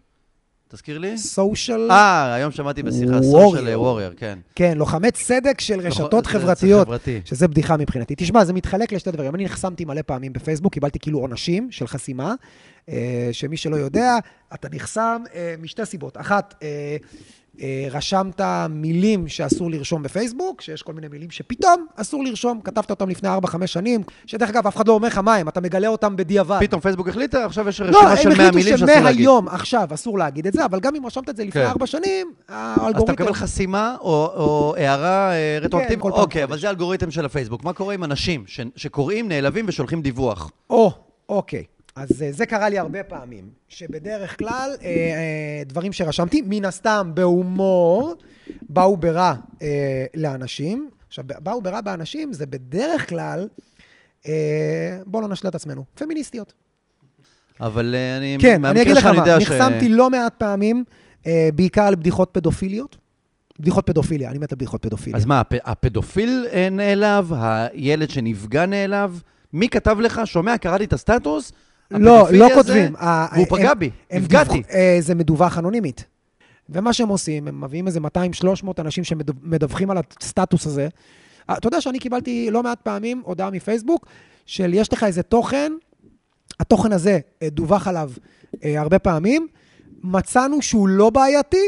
Speaker 2: תזכיר לי?
Speaker 1: סושיאל...
Speaker 2: אה, היום שמעתי בשיחה סוף
Speaker 1: Warrior.
Speaker 2: של וורייר, כן. נכון,
Speaker 1: כן, לוחמי צדק של רשתות
Speaker 2: זה- זה
Speaker 1: חברתיות,
Speaker 2: חברתי.
Speaker 1: שזה בדיחה מבחינתי. תשמע, זה מתחלק לשתי דברים. אני נחסמתי מלא פעמים בפייסבוק, קיבלתי כאילו עונשים של חסימה, אה, שמי שלא יודע, אתה נחסם אה, משתי סיבות. אחת, אה, אה, רשמת מילים שאסור לרשום בפייסבוק, שיש כל מיני מילים שפתאום אסור לרשום, כתבת אותם לפני 4-5 שנים, שדרך אגב, אף אחד לא אומר לך מה הם, אתה מגלה אותם בדיעבד.
Speaker 2: פתאום פייסבוק החליטה, עכשיו יש
Speaker 1: לא,
Speaker 2: רשימה
Speaker 1: הם
Speaker 2: של 100 מילים
Speaker 1: החליטו
Speaker 2: שאסור להגיד.
Speaker 1: שמהיום, עכשיו, אסור להגיד את זה, אבל גם אם רשמת את זה לפני
Speaker 2: כן.
Speaker 1: ארבע שנים,
Speaker 2: אז אתה
Speaker 1: האלגוריתם...
Speaker 2: מקבל חסימה או, או הערה אה, רטרואקטיבית?
Speaker 1: כן, כל פעם
Speaker 2: אוקיי,
Speaker 1: חודש.
Speaker 2: אבל זה אלגוריתם של הפייסבוק. מה קורה עם אנשים ש, שקוראים, נעלבים ושולחים דיווח?
Speaker 1: או, אוקיי. אז אה, זה קרה לי הרבה פעמים, שבדרך כלל אה, אה, דברים שרשמתי, מן הסתם בהומור, באו ברע אה, לאנשים. עכשיו, ב- באו ברע באנשים זה בדרך כלל, אה, בואו לא נשלה את עצמנו, פמיניסטיות.
Speaker 2: אבל אה, אני...
Speaker 1: כן,
Speaker 2: מהמקרה
Speaker 1: אני אגיד לך
Speaker 2: שלך אני
Speaker 1: מה,
Speaker 2: יודע
Speaker 1: נחסמתי לא מעט פעמים, אה, בעיקר על בדיחות פדופיליות. בדיחות פדופיליה, אני מת על בדיחות פדופיליה.
Speaker 2: אז מה, הפ, הפדופיל אה, נעלב? הילד שנפגע נעלב? מי כתב לך? שומע, קראתי את הסטטוס?
Speaker 1: לא,
Speaker 2: הפדופילי
Speaker 1: לא
Speaker 2: הזה,
Speaker 1: כותבים. ה-
Speaker 2: והוא
Speaker 1: הם-
Speaker 2: פגע בי,
Speaker 1: הם
Speaker 2: נפגעתי.
Speaker 1: דיווח- אה, זה מדווח אנונימית. ומה שהם עושים, הם מביאים איזה 200-300 אנשים שמדווחים על הסטטוס הזה. אה, אתה יודע שאני קיבלתי לא מעט פעמים הודעה מפייסבוק של יש לך איזה תוכן, התוכן הזה אה, דווח עליו אה, הרבה פעמים, מצאנו שהוא לא בעייתי,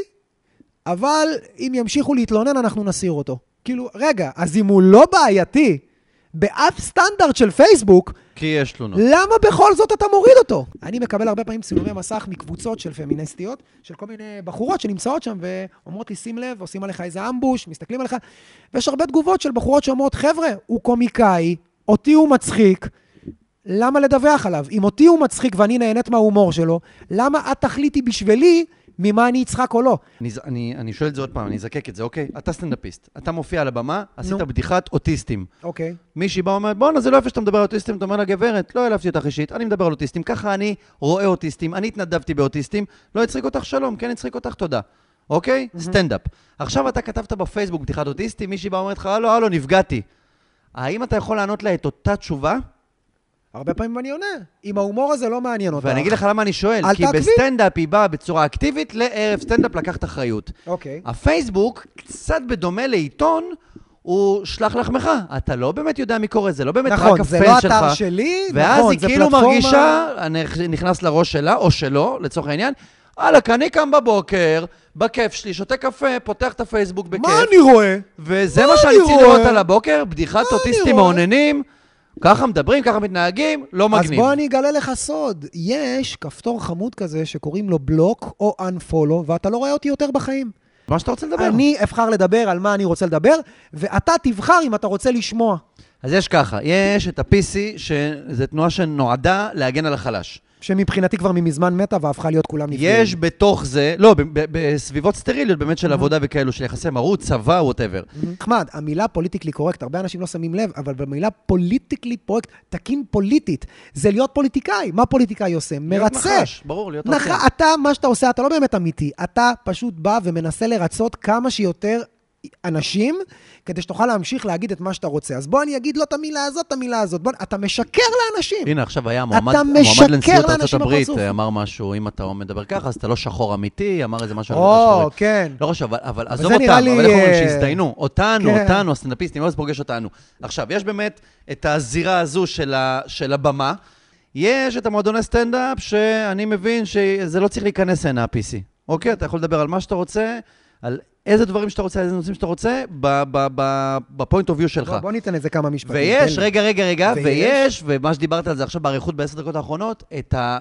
Speaker 1: אבל אם ימשיכו להתלונן אנחנו נסיר אותו. כאילו, רגע, אז אם הוא לא בעייתי, באף סטנדרט של פייסבוק,
Speaker 2: כי יש תלונות.
Speaker 1: למה בכל זאת אתה מוריד אותו? אני מקבל הרבה פעמים צילומי מסך מקבוצות של פמיניסטיות, של כל מיני בחורות שנמצאות שם ואומרות לי, שים לב, עושים עליך איזה אמבוש, מסתכלים עליך, ויש הרבה תגובות של בחורות שאומרות, חבר'ה, הוא קומיקאי, אותי הוא מצחיק, למה לדווח עליו? אם אותי הוא מצחיק ואני נהנית מההומור שלו, למה את תחליטי בשבילי ממה אני אצחק או לא?
Speaker 2: אני, ז- אני, אני שואל את זה עוד פעם, אני אזקק את זה, אוקיי? אתה סטנדאפיסט, אתה מופיע על הבמה, עשית
Speaker 1: נו.
Speaker 2: בדיחת אוטיסטים.
Speaker 1: אוקיי.
Speaker 2: מישהי באה ואומרת, בואנה, זה לא יפה שאתה מדבר על אוטיסטים, אתה אומר לה, גברת, לא העלבתי אותך אישית, אני מדבר על אוטיסטים, ככה אני רואה אוטיסטים, אני התנדבתי באוטיסטים, לא הצחיק אותך שלום, כן הצחיק אותך תודה. אוקיי?
Speaker 1: Mm-hmm.
Speaker 2: סטנדאפ. עכשיו אתה כתבת בפייסבוק בדיחת אוטיסטים, מישהי באה ואומרת לך, הלו, הלו, נפגעתי. האם אתה יכול לענות לה את אותה תשובה?
Speaker 1: הרבה פעמים אני עונה, אם ההומור הזה לא מעניין אותך.
Speaker 2: ואני אגיד לך למה אני שואל,
Speaker 1: אל
Speaker 2: כי
Speaker 1: תעקבי.
Speaker 2: בסטנדאפ היא באה בצורה אקטיבית לערב סטנדאפ לקחת אחריות.
Speaker 1: אוקיי.
Speaker 2: הפייסבוק, קצת בדומה לעיתון, הוא שלח לחמך. אתה לא באמת יודע מי קורא, זה לא באמת רק
Speaker 1: נכון,
Speaker 2: הפן
Speaker 1: זה
Speaker 2: שלך.
Speaker 1: לא אתר שלי,
Speaker 2: ואז
Speaker 1: נכון,
Speaker 2: היא
Speaker 1: זה
Speaker 2: כאילו
Speaker 1: פלטפורמה-
Speaker 2: מרגישה, אני נכנס לראש שלה, או שלו, לצורך העניין, וואלכ, אני קם בבוקר, בכיף שלי, שותה קפה, פותח את הפייסבוק בכיף. לא
Speaker 1: מה אני רואה?
Speaker 2: וזה
Speaker 1: מה
Speaker 2: מה
Speaker 1: אני
Speaker 2: שאני צריך
Speaker 1: רואה?
Speaker 2: לראות על הבוקר, בדיחת
Speaker 1: אני
Speaker 2: אוטיסטים
Speaker 1: רואה?
Speaker 2: מאוננים, ככה מדברים, ככה מתנהגים, לא מגניב.
Speaker 1: אז בוא אני אגלה לך סוד. יש כפתור חמוד כזה שקוראים לו בלוק או unfollow, ואתה לא רואה אותי יותר בחיים.
Speaker 2: מה שאתה רוצה לדבר.
Speaker 1: אני אבחר לדבר על מה אני רוצה לדבר, ואתה תבחר אם אתה רוצה לשמוע.
Speaker 2: אז יש ככה, יש את ה-PC, שזו תנועה שנועדה להגן על החלש.
Speaker 1: שמבחינתי כבר ממזמן מתה והפכה להיות כולם נפגעים.
Speaker 2: יש בתוך זה, לא, ב- ב- בסביבות סטריליות באמת של עבודה וכאלו, של יחסי מרות, צבא, ווטאבר.
Speaker 1: נחמד, המילה פוליטיקלי קורקט, הרבה אנשים לא שמים לב, אבל במילה פוליטיקלי קורקט, תקין פוליטית, זה להיות פוליטיקאי. מה פוליטיקאי עושה? מרצה.
Speaker 2: ברור, להיות
Speaker 1: נכ...
Speaker 2: נחש.
Speaker 1: נכון, אתה, מה שאתה עושה, אתה לא באמת אמיתי. אתה פשוט בא ומנסה לרצות כמה שיותר אנשים, כדי שתוכל להמשיך להגיד את מה שאתה רוצה. אז בוא אני אגיד לא את המילה הזאת, את המילה הזאת. בוא, אתה משקר לאנשים.
Speaker 2: הנה, עכשיו היה מועמד,
Speaker 1: כן. אתה
Speaker 2: מועמד
Speaker 1: משקר
Speaker 2: לנשיאות
Speaker 1: לאנשים
Speaker 2: ארצות הברית, אה,
Speaker 1: בפרצוף.
Speaker 2: אמר משהו, אם אתה מדבר ככה, אז אתה לא שחור אמיתי, אמר איזה משהו על ארצות
Speaker 1: או,
Speaker 2: הברית.
Speaker 1: כן.
Speaker 2: לא חשוב, אבל- אבל עזוב
Speaker 1: זה
Speaker 2: אותם,
Speaker 1: נראה
Speaker 2: אבל
Speaker 1: לי,
Speaker 2: איך אומרים
Speaker 1: אה,
Speaker 2: שהזדיינו? אותנו,
Speaker 1: כן.
Speaker 2: אותנו, הסטנדאפיסטים, לא זה פוגש אותנו. עכשיו, יש באמת את הזירה הזו של ה- של הבמה. יש את המועדוני סטנדאפ, שאני מבין שזה לא צריך להיכנס הנה, ה-PC. אוקיי? אתה יכול לדבר על מה שאתה רוצה, על איזה דברים שאתה רוצה, על איזה נושאים שאתה רוצה, ב- ב- ב- בפוינט אוף יו שלך.
Speaker 1: בוא, בוא ניתן איזה כמה משפטים.
Speaker 2: ויש,
Speaker 1: תן לי.
Speaker 2: רגע, רגע, רגע,
Speaker 1: ויש-
Speaker 2: ויש, ומה שדיברת על זה עכשיו באריכות בעשר דקות האחרונות, את ה...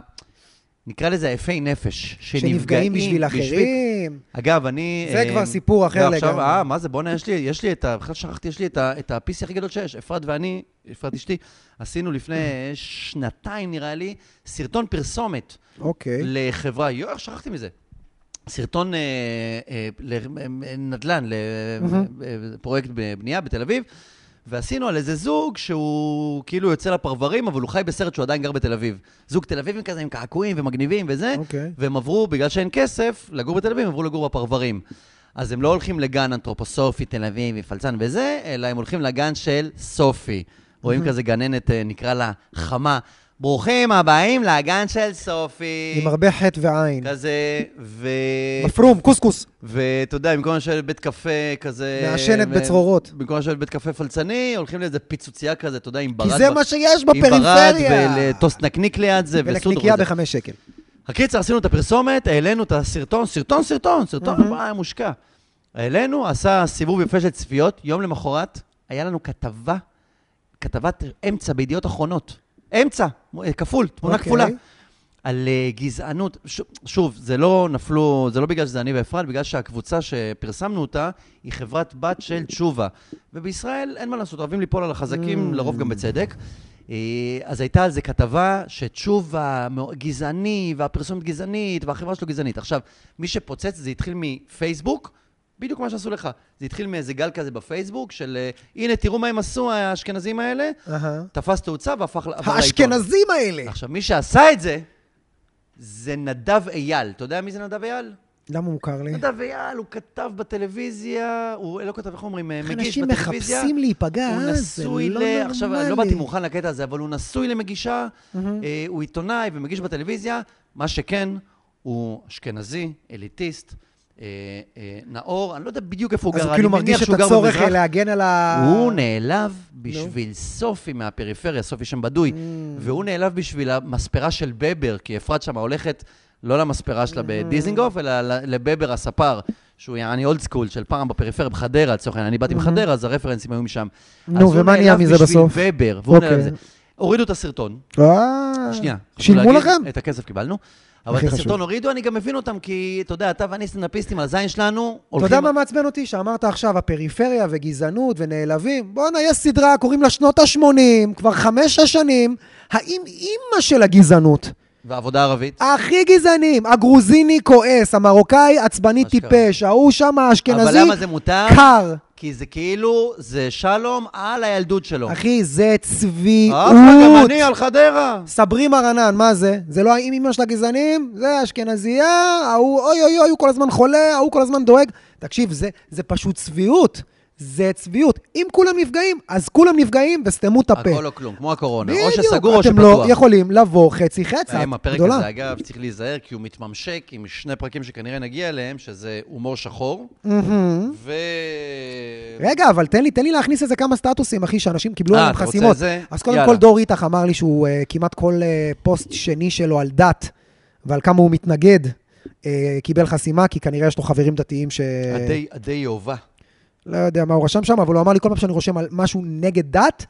Speaker 2: נקרא לזה היפי נפש, שנפגעים
Speaker 1: שנפגעים בשביל
Speaker 2: בשביל-
Speaker 1: אחרים.
Speaker 2: אגב, אני...
Speaker 1: זה
Speaker 2: אה,
Speaker 1: כבר סיפור אחר
Speaker 2: ועכשיו,
Speaker 1: לגמרי.
Speaker 2: אה, מה זה, בואנה, יש לי, יש לי את ה... בכלל שכחתי, יש לי את, ה- את ה-PC הכי גדול שיש. אפרת ואני, אפרת אשתי, עשינו לפני שנתיים, נראה לי, סרטון פרסומת
Speaker 1: אוקיי.
Speaker 2: לחברה, יואו, איך שכחתי מזה? סרטון אה, אה, לנדל"ן,
Speaker 1: מהמם.
Speaker 2: לפרויקט בנייה בתל אביב, ועשינו על איזה זוג שהוא כאילו יוצא לפרברים, אבל הוא חי בסרט שהוא עדיין גר בתל אביב. זוג תל אביבים כזה עם קעקועים ומגניבים וזה,
Speaker 1: אוקיי.
Speaker 2: והם עברו, בגלל שאין כסף, לגור בתל אביב, הם עברו לגור בפרברים. אז הם לא הולכים לגן אנתרופוסופי, תל אביב, פלצן וזה, אלא הם הולכים לגן של סופי. רואים כזה גננת, אה, נקרא לה חמה. ברוכים הבאים לגן של סופי.
Speaker 1: עם הרבה חטא ועין.
Speaker 2: כזה, ו...
Speaker 1: מפרום, קוסקוס.
Speaker 2: ואתה יודע, במקום לשבת בבית קפה כזה...
Speaker 1: מעשנת
Speaker 2: ו-
Speaker 1: בצרורות.
Speaker 2: במקום לשבת בבית קפה פלצני, הולכים לאיזה פיצוצייה כזה, אתה יודע, עם ברד...
Speaker 1: כי זה
Speaker 2: ב-
Speaker 1: מה שיש
Speaker 2: עם ברד
Speaker 1: בפריפריה.
Speaker 2: ולטוס נקניק ליד זה, וסודו.
Speaker 1: ולקניקייה בחמש שקל.
Speaker 2: הקיצר, עשינו את הפרסומת, העלינו את הסרטון, סרטון, סרטון, סרטון,
Speaker 1: Mhm.
Speaker 2: וואי, מושקע. העלינו, עשה סיבוב יפה של צפיות, יום למחרת, היה לנו כתבה, כתבת אמצע בידיעות אחרונות. אמצע, אה, כפול, תמונה
Speaker 1: אוקיי.
Speaker 2: כפולה. על אה, גזענות. ש- שוב, זה לא נפלו, זה לא בגלל שזה אני ואפרת, בגלל שהקבוצה שפרסמנו אותה היא חברת בת של תשובה. ובישראל אין מה לעשות, אוהבים ליפול על החזקים,
Speaker 1: Mm.
Speaker 2: לרוב גם בצדק. אה, אז הייתה על זה כתבה שתשובה מאו- גזעני, והפרסומת גזענית, והחברה שלו גזענית. עכשיו, מי שפוצץ זה התחיל מפייסבוק, בדיוק מה שעשו לך. זה התחיל מאיזה גל כזה בפייסבוק של אה, הנה, תראו מה הם עשו, האשכנזים האלה.
Speaker 1: אהה.
Speaker 2: תפס תאוצה והפך... עבר לעיתון.
Speaker 1: האשכנזים האלה.
Speaker 2: עכשיו, מי שעשה את זה, זה נדב אייל. אתה יודע מי זה נדב אייל?
Speaker 1: למה מוכר לי?
Speaker 2: נדב אייל, הוא כתב בטלוויזיה, הוא לא כתב, איך אומרים, מגיש
Speaker 1: אנשים
Speaker 2: בטלוויזיה.
Speaker 1: מחפשים להיפגע,
Speaker 2: הוא
Speaker 1: אה? זה
Speaker 2: נשוי
Speaker 1: לא
Speaker 2: ל... עכשיו, אני לא
Speaker 1: נורמלי.
Speaker 2: באתי מוכן לקטע הזה, אבל הוא נשוי למגישה,
Speaker 1: מהמם.
Speaker 2: אה, הוא עיתונאי ומגיש בטלוויזיה. מה שכן, הוא אשכנזי, אליטיסט, אה, אה, נאור, אני לא יודע בדיוק איפה הוא גר,
Speaker 1: אז הוא
Speaker 2: אני
Speaker 1: כאילו
Speaker 2: מניח
Speaker 1: מרגיש את
Speaker 2: שהוא גר
Speaker 1: הצורך
Speaker 2: במזרח.
Speaker 1: להגן על ה...
Speaker 2: הוא נעלב בשביל סופי מהפריפריה, סופי שם בדוי,
Speaker 1: Mm.
Speaker 2: והוא נעלב בשביל המספרה של בבר, כי אפרת שם הולכת לא למספרה שלה
Speaker 1: Mm-hmm.
Speaker 2: בדיזינגוף, אלא ל- לבבר הספר, שהוא יעני אולד סקול של פעם בפריפריה, בחדרה, לצורך העניין, אני באתי מחדרה, אז הרפרנסים היו משם.
Speaker 1: Mm-hmm. נו,
Speaker 2: אז הוא
Speaker 1: ומה נהיה
Speaker 2: נעלב
Speaker 1: מזה
Speaker 2: בשביל
Speaker 1: בסוף?
Speaker 2: בבר, והוא נעלב
Speaker 1: אוקיי.
Speaker 2: זה. הורידו את הסרטון,
Speaker 1: אה.
Speaker 2: שנייה.
Speaker 1: שילמו
Speaker 2: חשוב להגיד,
Speaker 1: לכם?
Speaker 2: את הכסף קיבלנו. אבל את
Speaker 1: הכי
Speaker 2: הסרטון
Speaker 1: חשוב.
Speaker 2: הורידו, אני גם מבין אותם, כי אתה יודע, אתה ואני סטנדאפיסטים על הזין שלנו,
Speaker 1: אתה
Speaker 2: הולכים...
Speaker 1: יודע מה מעצבן אותי? שאמרת עכשיו, הפריפריה וגזענות ונעלבים. בואנה, יש סדרה, קוראים לה שנות ה-80, כבר חמש השנים. האם אימא של הגזענות?
Speaker 2: והעבודה הערבית.
Speaker 1: הכי גזענים, הגרוזיני כועס, המרוקאי עצבני
Speaker 2: מה שקרה.
Speaker 1: טיפש, ההוא שם
Speaker 2: אבל
Speaker 1: האשכנזי
Speaker 2: למה זה מותר?
Speaker 1: קר.
Speaker 2: כי זה כאילו, זה שלום על הילדות שלו.
Speaker 1: אחי, זה
Speaker 2: לא. אה, גם
Speaker 1: צביעות.
Speaker 2: אני על חדרה.
Speaker 1: סברי מרנן, מה זה? זה לא האם אמא של הגזענים, זה האשכנזייה, ההוא אוי אוי אוי, הוא כל הזמן חולה, ההוא כל הזמן דואג. תקשיב, זה, זה פשוט צביעות. זה צביעות. אם כולם נפגעים, אז כולם נפגעים וסתמו את הפה.
Speaker 2: הכל או כלום, כמו הקורונה. או
Speaker 1: בדיוק,
Speaker 2: שסגור או
Speaker 1: אתם
Speaker 2: שפתוח.
Speaker 1: לא יכולים לבוא חצי חצי,
Speaker 2: היום
Speaker 1: את
Speaker 2: הפרק
Speaker 1: גדולה.
Speaker 2: הזה, אגב, צריך להיזהר, כי הוא מתממשק עם שני פרקים שכנראה נגיע אליהם, שזה הומור שחור,
Speaker 1: מהמם.
Speaker 2: ו...
Speaker 1: רגע, אבל תן לי, תן לי להכניס איזה כמה סטטוסים, אחי, שאנשים קיבלו
Speaker 2: אה,
Speaker 1: עליהם
Speaker 2: אתה רוצה
Speaker 1: חסימות.
Speaker 2: זה?
Speaker 1: אז קודם
Speaker 2: יאללה.
Speaker 1: כל, דור איתך אמר לי שהוא אה, כמעט כל אה, פוסט שני שלו על דת, ועל כמה הוא מתנגד, אה, קיבל חסימה, כי כנראה יש לו חברים דתיים ש...
Speaker 2: עדי- עדי יהובה.
Speaker 1: לא יודע מה הוא רשם שם, אבל הוא אמר לי כל פעם שאני רושם על משהו נגד דת,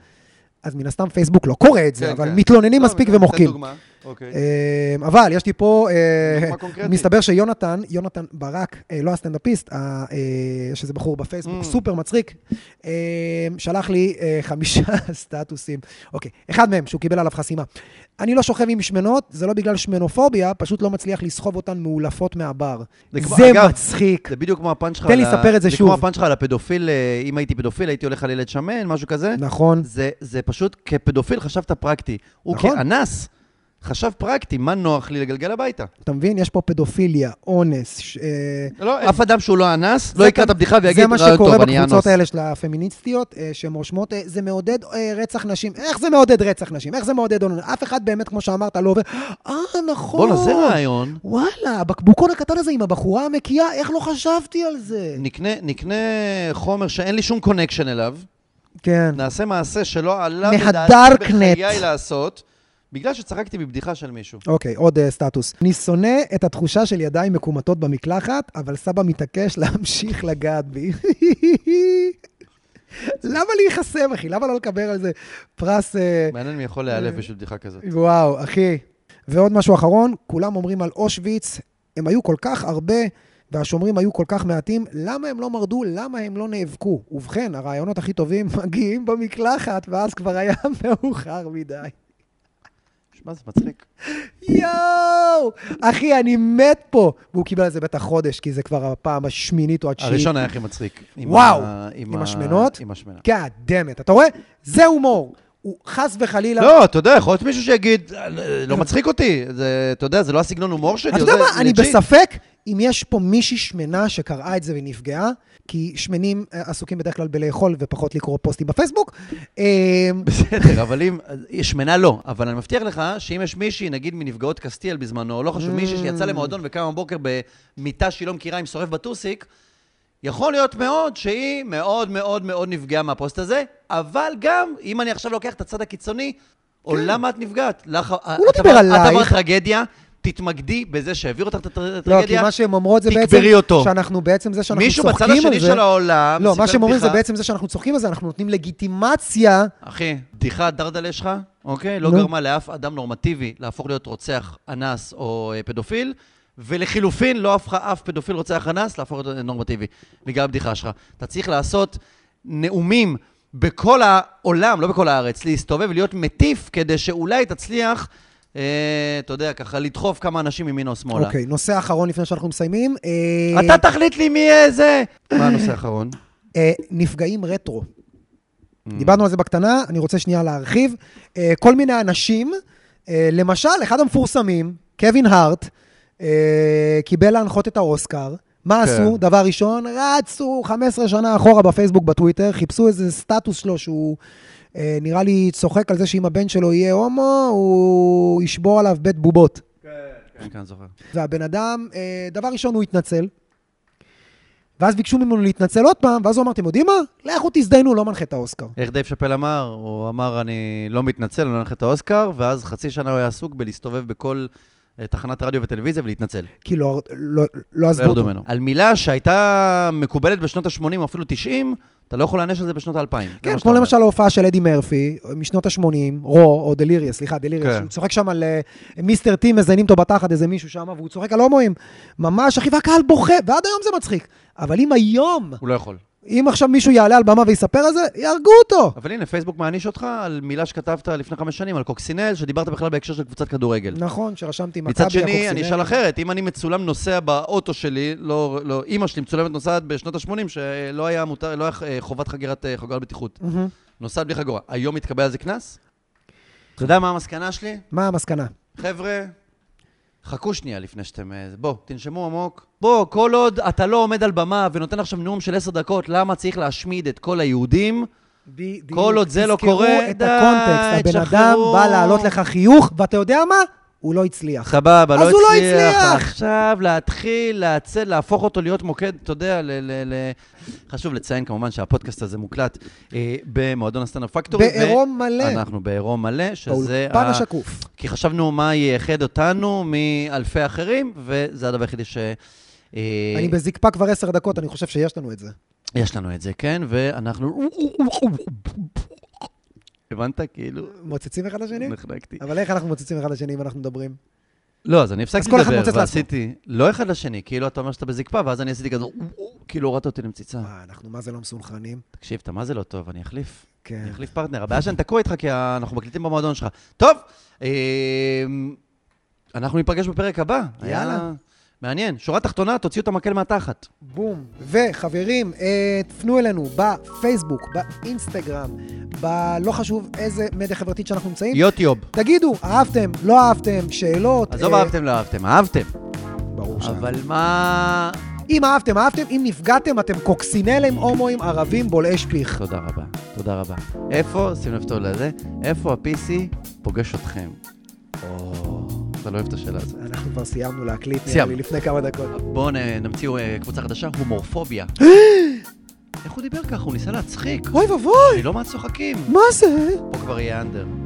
Speaker 1: אז מן הסתם פייסבוק לא קורא את זה,
Speaker 2: כן,
Speaker 1: אבל
Speaker 2: כן.
Speaker 1: מתלוננים
Speaker 2: לא,
Speaker 1: מספיק
Speaker 2: ניתן
Speaker 1: ומוחקים.
Speaker 2: דוגמה. אוקיי.
Speaker 1: אה, אבל יש לי פה, אה,
Speaker 2: דוגמה קונקרטית.
Speaker 1: מסתבר שיונתן, יונתן ברק, אה, לא הסטנדאפיסט, ה- אה, שזה בחור בפייסבוק,
Speaker 2: Mm.
Speaker 1: סופר מצחיק, אה, שלח לי אה, חמישה סטטוסים. אוקיי, אחד מהם, שהוא קיבל עליו חסימה. אני לא שוכב עם שמנות, זה לא בגלל שמנופוביה, פשוט לא מצליח לסחוב אותן מאולפות מהבר.
Speaker 2: זה כמו-
Speaker 1: זה
Speaker 2: אגב,
Speaker 1: מצחיק.
Speaker 2: זה בדיוק כמו הפאנץ' שלך.
Speaker 1: תן
Speaker 2: על
Speaker 1: לי
Speaker 2: ה-
Speaker 1: לספר את זה
Speaker 2: זה
Speaker 1: שוב.
Speaker 2: כמו הפאנץ' שלך על הפדופיל, אה, אם הייתי פדופיל, הייתי הולך על ילד שמן, משהו כזה.
Speaker 1: נכון.
Speaker 2: זה, זה פשוט, כפדופיל חשבת פרקטי. הוא
Speaker 1: נכון.
Speaker 2: כאנס חשב פרקטי, מה נוח לי לגלגל הביתה.
Speaker 1: אתה מבין? יש פה פדופיליה, אונס. ש- אה,
Speaker 2: אף אדם שהוא לא אנס, לא
Speaker 1: זה
Speaker 2: יקרא
Speaker 1: גם-
Speaker 2: את הבדיחה ויגיד,
Speaker 1: זה מה
Speaker 2: רעיון
Speaker 1: שקורה
Speaker 2: טוב, אני אאנוס.
Speaker 1: בקבוצות האלה של הפמיניסטיות, אה, שהן רושמות, אה, זה מעודד אה, רצח נשים. איך זה מעודד רצח נשים? איך זה מעודד אונס? אף אחד באמת, כמו שאמרת, לא עובר, אה, נכון.
Speaker 2: בואנה, זה רעיון.
Speaker 1: וואלה, הבקבוקון הקטן הזה עם הבחורה המקיאה, איך לא חשבתי על זה?
Speaker 2: נקנה, נקנה חומר שאין לי שום קונקשן אליו,
Speaker 1: כן.
Speaker 2: נעשה מעשה שלא עלה
Speaker 1: מהדארקנט.
Speaker 2: בחיי לעשות, בגלל שצחקתי בבדיחה של מישהו.
Speaker 1: אוקיי, עוד אה, סטטוס. אני שונא את התחושה של ידיים מקומטות במקלחת, אבל סבא מתעקש להמשיך לגעת בי. למה להיחסם, אחי? למה לא לקבל על זה פרס... אה,
Speaker 2: מעניין מי יכול להיעלב בשביל בדיחה כזאת.
Speaker 1: וואו, אחי. ועוד משהו אחרון, כולם אומרים על אושוויץ, הם היו כל כך הרבה, והשומרים היו כל כך מעטים, למה הם לא מרדו? למה הם לא נאבקו? ובכן, הרעיונות הכי טובים מגיעים במקלחת, ואז כבר היה מאוחר מדי.
Speaker 2: שמע, זה מצחיק.
Speaker 1: יואו! אחי, אני מת פה! והוא קיבל על זה בטח חודש, כי זה כבר הפעם השמינית או התשיעית.
Speaker 2: הראשון היה הכי מצחיק. עם
Speaker 1: וואו,
Speaker 2: ה-
Speaker 1: עם
Speaker 2: ה-
Speaker 1: השמנות?
Speaker 2: עם השמנה.
Speaker 1: God damn it, אתה רואה? זה הומור. הוא חס וחלילה...
Speaker 2: לא, אתה יודע, יכול להיות מישהו שיגיד, "אה, לא מצחיק אותי, זה- אתה יודע, זה לא הסגנון הומור שלי.
Speaker 1: אתה
Speaker 2: זה-
Speaker 1: יודע
Speaker 2: זה
Speaker 1: מה? אני
Speaker 2: legit."
Speaker 1: בספק אם יש פה מישהי שמנה שקראה את זה ונפגעה, כי שמנים אה, עסוקים בדרך כלל בלאכול ופחות לקרוא פוסטים בפייסבוק. אה,
Speaker 2: בסדר, אבל אם, שמנה לא, אבל אני מבטיח לך שאם יש מישהי, נגיד מנפגעות קסטיאל בזמנו, לא חשוב, מישהי שיצאה למועדון וקמה בבוקר במיטה שהיא לא מכירה עם שורף בטוסיק, יכול להיות מאוד שהיא מאוד מאוד מאוד נפגעה מהפוסט הזה, אבל גם, אם אני עכשיו לוקח את הצד הקיצוני, או למה את נפגעת? לך-
Speaker 1: כן. לא
Speaker 2: את
Speaker 1: דיבר
Speaker 2: עברת- את
Speaker 1: עלייך.
Speaker 2: עברת טרגדיה, תתמקדי בזה שהעביר אותך את הטרגדיה.
Speaker 1: לא, כי מה שהם אומרות זה בעצם...
Speaker 2: תקברי אותו.
Speaker 1: שאנחנו בעצם זה שאנחנו
Speaker 2: מישהו
Speaker 1: צוחקים על זה.
Speaker 2: בצד השני של העולם
Speaker 1: לא,
Speaker 2: סיפר
Speaker 1: מה שהם אומרים זה
Speaker 2: בדיחה.
Speaker 1: בעצם זה שאנחנו צוחקים על זה, אנחנו נותנים לגיטימציה.
Speaker 2: אחי, בדיחה דרדלה שלך, אוקיי? לא
Speaker 1: נו.
Speaker 2: גרמה לאף אדם נורמטיבי להפוך להיות רוצח, אנס או אה, פדופיל, ולחילופין, לא הפכה אף פדופיל, רוצח, אנס, להפוך להיות אה, נורמטיבי, בגלל הבדיחה שלך. אתה צריך לעשות נאומים בכל העולם, לא בכל הארץ, להסתובב ולהיות מטיף, כדי שאולי תצליח, אה, אתה יודע, ככה, לדחוף כמה אנשים ימינה או שמאלה.
Speaker 1: אוקיי, נושא אחרון לפני שאנחנו מסיימים. אה,
Speaker 2: אתה תחליט לי מי יהיה זה! מה הנושא האחרון?
Speaker 1: אה, נפגעים רטרו. דיברנו על זה בקטנה, אני רוצה שנייה להרחיב. אה, כל מיני אנשים, אה, למשל, אחד המפורסמים, קווין הארט, אה, קיבל להנחות את האוסקר. מה
Speaker 2: כן.
Speaker 1: עשו? דבר ראשון, רצו 15 שנה אחורה בפייסבוק, בטוויטר, חיפשו איזה סטטוס שלו שהוא אה, נראה לי צוחק על זה שאם הבן שלו יהיה הומו, הוא ישבור עליו בית בובות.
Speaker 2: כן, כן, זוכר.
Speaker 1: והבן אדם, אה, דבר ראשון, הוא התנצל. ואז ביקשו ממנו להתנצל עוד פעם, ואז הוא אמר, אתם יודעים מה? לכו תזדיינו, לא מנחה את האוסקר.
Speaker 2: איך דייב שאפל אמר? הוא אמר, אני לא מתנצל, אני לא הולך את האוסקר, ואז חצי שנה הוא היה עסוק בלהסתובב בכל אה, תחנת רדיו וטלוויזיה ולהתנצל.
Speaker 1: כי לא, לא, לא עזבו
Speaker 2: לא
Speaker 1: אותו.
Speaker 2: ממנו. על מילה שהייתה מקובלת בשנות ה-80 או אפילו 90, אתה לא יכול להעניש על זה בשנות ה-2000.
Speaker 1: כן, כמו למשל ההופעה של אדי מרפי, משנות ה-80, רו, או דליריה, סליחה, דליריה,
Speaker 2: כן.
Speaker 1: שהוא צוחק שם על אה, מיסטר טי, מזיינים אותו בתחת איזה מישהו שם, והוא צוחק על הומואים. ממש, אחי, והקהל בוכה, ועד היום זה מצחיק. אבל אם היום,
Speaker 2: הוא לא יכול.
Speaker 1: אם עכשיו מישהו יעלה על במה ויספר על זה, יהרגו אותו.
Speaker 2: אבל הנה, פייסבוק מעניש אותך על מילה שכתבת לפני חמש שנים, על קוקסינל, שדיברת בכלל בהקשר של קבוצת כדורגל.
Speaker 1: נכון, שרשמתי מכבי,
Speaker 2: מצד שני, אני
Speaker 1: הקוקסינל.
Speaker 2: אשאל אחרת, אם אני מצולם נוסע באוטו שלי, לא, לא, אימא שלי מצולמת נוסעת בשנות ה-80, שלא היה מותר, לא היה אה, חובת חגירת אה, חגורת בטיחות.
Speaker 1: מהמם.
Speaker 2: נוסעת בלי חגורה. היום מתקבל על זה קנס? אתה יודע מה המסקנה שלי?
Speaker 1: מה המסקנה?
Speaker 2: חבר'ה, חכו שנייה לפני שאתם... אה, זה. בוא, תנשמו עמוק. בוא, כל עוד אתה לא עומד על במה ונותן עכשיו נאום של עשר דקות, למה צריך להשמיד את כל היהודים?
Speaker 1: בדיוק.
Speaker 2: כל עוד זה לא
Speaker 1: תזכרו
Speaker 2: קורה,
Speaker 1: את
Speaker 2: די,
Speaker 1: הקונטקסט. הבן אדם
Speaker 2: תשחררו.
Speaker 1: בא להעלות לך חיוך, ואתה יודע מה? הוא לא הצליח.
Speaker 2: סבבה, לא
Speaker 1: אז הוא לא
Speaker 2: הצליח.
Speaker 1: הצליח.
Speaker 2: עכשיו להתחיל, להצל, להפוך אותו להיות מוקד, אתה יודע, ל... ל, ל... חשוב לציין כמובן שהפודקאסט הזה מוקלט אה, במועדון הסטנדאפ פקטורי.
Speaker 1: בעירום מלא.
Speaker 2: אנחנו בעירום מלא, שזה...
Speaker 1: באולפן
Speaker 2: ה-
Speaker 1: השקוף.
Speaker 2: כי חשבנו מה ייחד אותנו מאלפי אחרים, וזה הדבר היחידי ש... אה,
Speaker 1: אני בזקפה כבר עשר דקות, אני חושב שיש לנו את זה.
Speaker 2: יש לנו את זה, כן, ואנחנו... הבנת? כאילו,
Speaker 1: מוצצים אחד לשני?
Speaker 2: נחנקתי.
Speaker 1: אבל איך אנחנו מוצצים אחד לשני אם אנחנו מדברים?
Speaker 2: לא, אז אני הפסקתי
Speaker 1: אז כל אחד
Speaker 2: לדבר,
Speaker 1: מוצץ
Speaker 2: ועשיתי... לא אחד לשני, כאילו אתה אומר שאתה בזקפה, ואז אני עשיתי כזה... כאילו הורדת אותי למציצה.
Speaker 1: מה, אנחנו מה זה לא מסונכרנים?
Speaker 2: תקשיב, אתה מה זה לא טוב, אני אחליף.
Speaker 1: כן.
Speaker 2: אני אחליף פרטנר. הבעיה שאני תקוע איתך, כי אנחנו מקליטים במועדון שלך. טוב, אמ, אנחנו ניפגש בפרק הבא. היה
Speaker 1: יאללה.
Speaker 2: מעניין. שורה תחתונה, תוציאו את המקל מהתחת.
Speaker 1: בום. וחברים, אה, תפנו אלינו בפייסבוק, באינסטגרם, בלא חשוב איזה מדיה חברתית שאנחנו נמצאים.
Speaker 2: יוטיוב.
Speaker 1: תגידו, אהבתם, לא אהבתם, שאלות.
Speaker 2: עזוב,
Speaker 1: אה,
Speaker 2: אהבתם, לא אהבתם, אהבתם.
Speaker 1: ברור שאהבתם.
Speaker 2: אבל מה...
Speaker 1: אם אהבתם, אהבתם, אם נפגעתם, אתם קוקסינלים, הומואים, ערבים, בולעי שפיך.
Speaker 2: תודה רבה, תודה רבה. איפה, שים לב טוב לזה, איפה ה-PC פוגש אתכם? או, אתה לא אוהב את השאלה הזאת.
Speaker 1: אנחנו כבר סיימנו להקליט, נראה
Speaker 2: סיימנו.
Speaker 1: לי, לפני כמה דקות.
Speaker 2: בואו נ- נמציאו אה, קבוצה חדשה, הומורפוביה. איך הוא דיבר ככה? הוא ניסה להצחיק.
Speaker 1: אוי ואבוי,
Speaker 2: אני לא מהצוחקים.
Speaker 1: מה זה?
Speaker 2: פה כבר יהיה אנדר.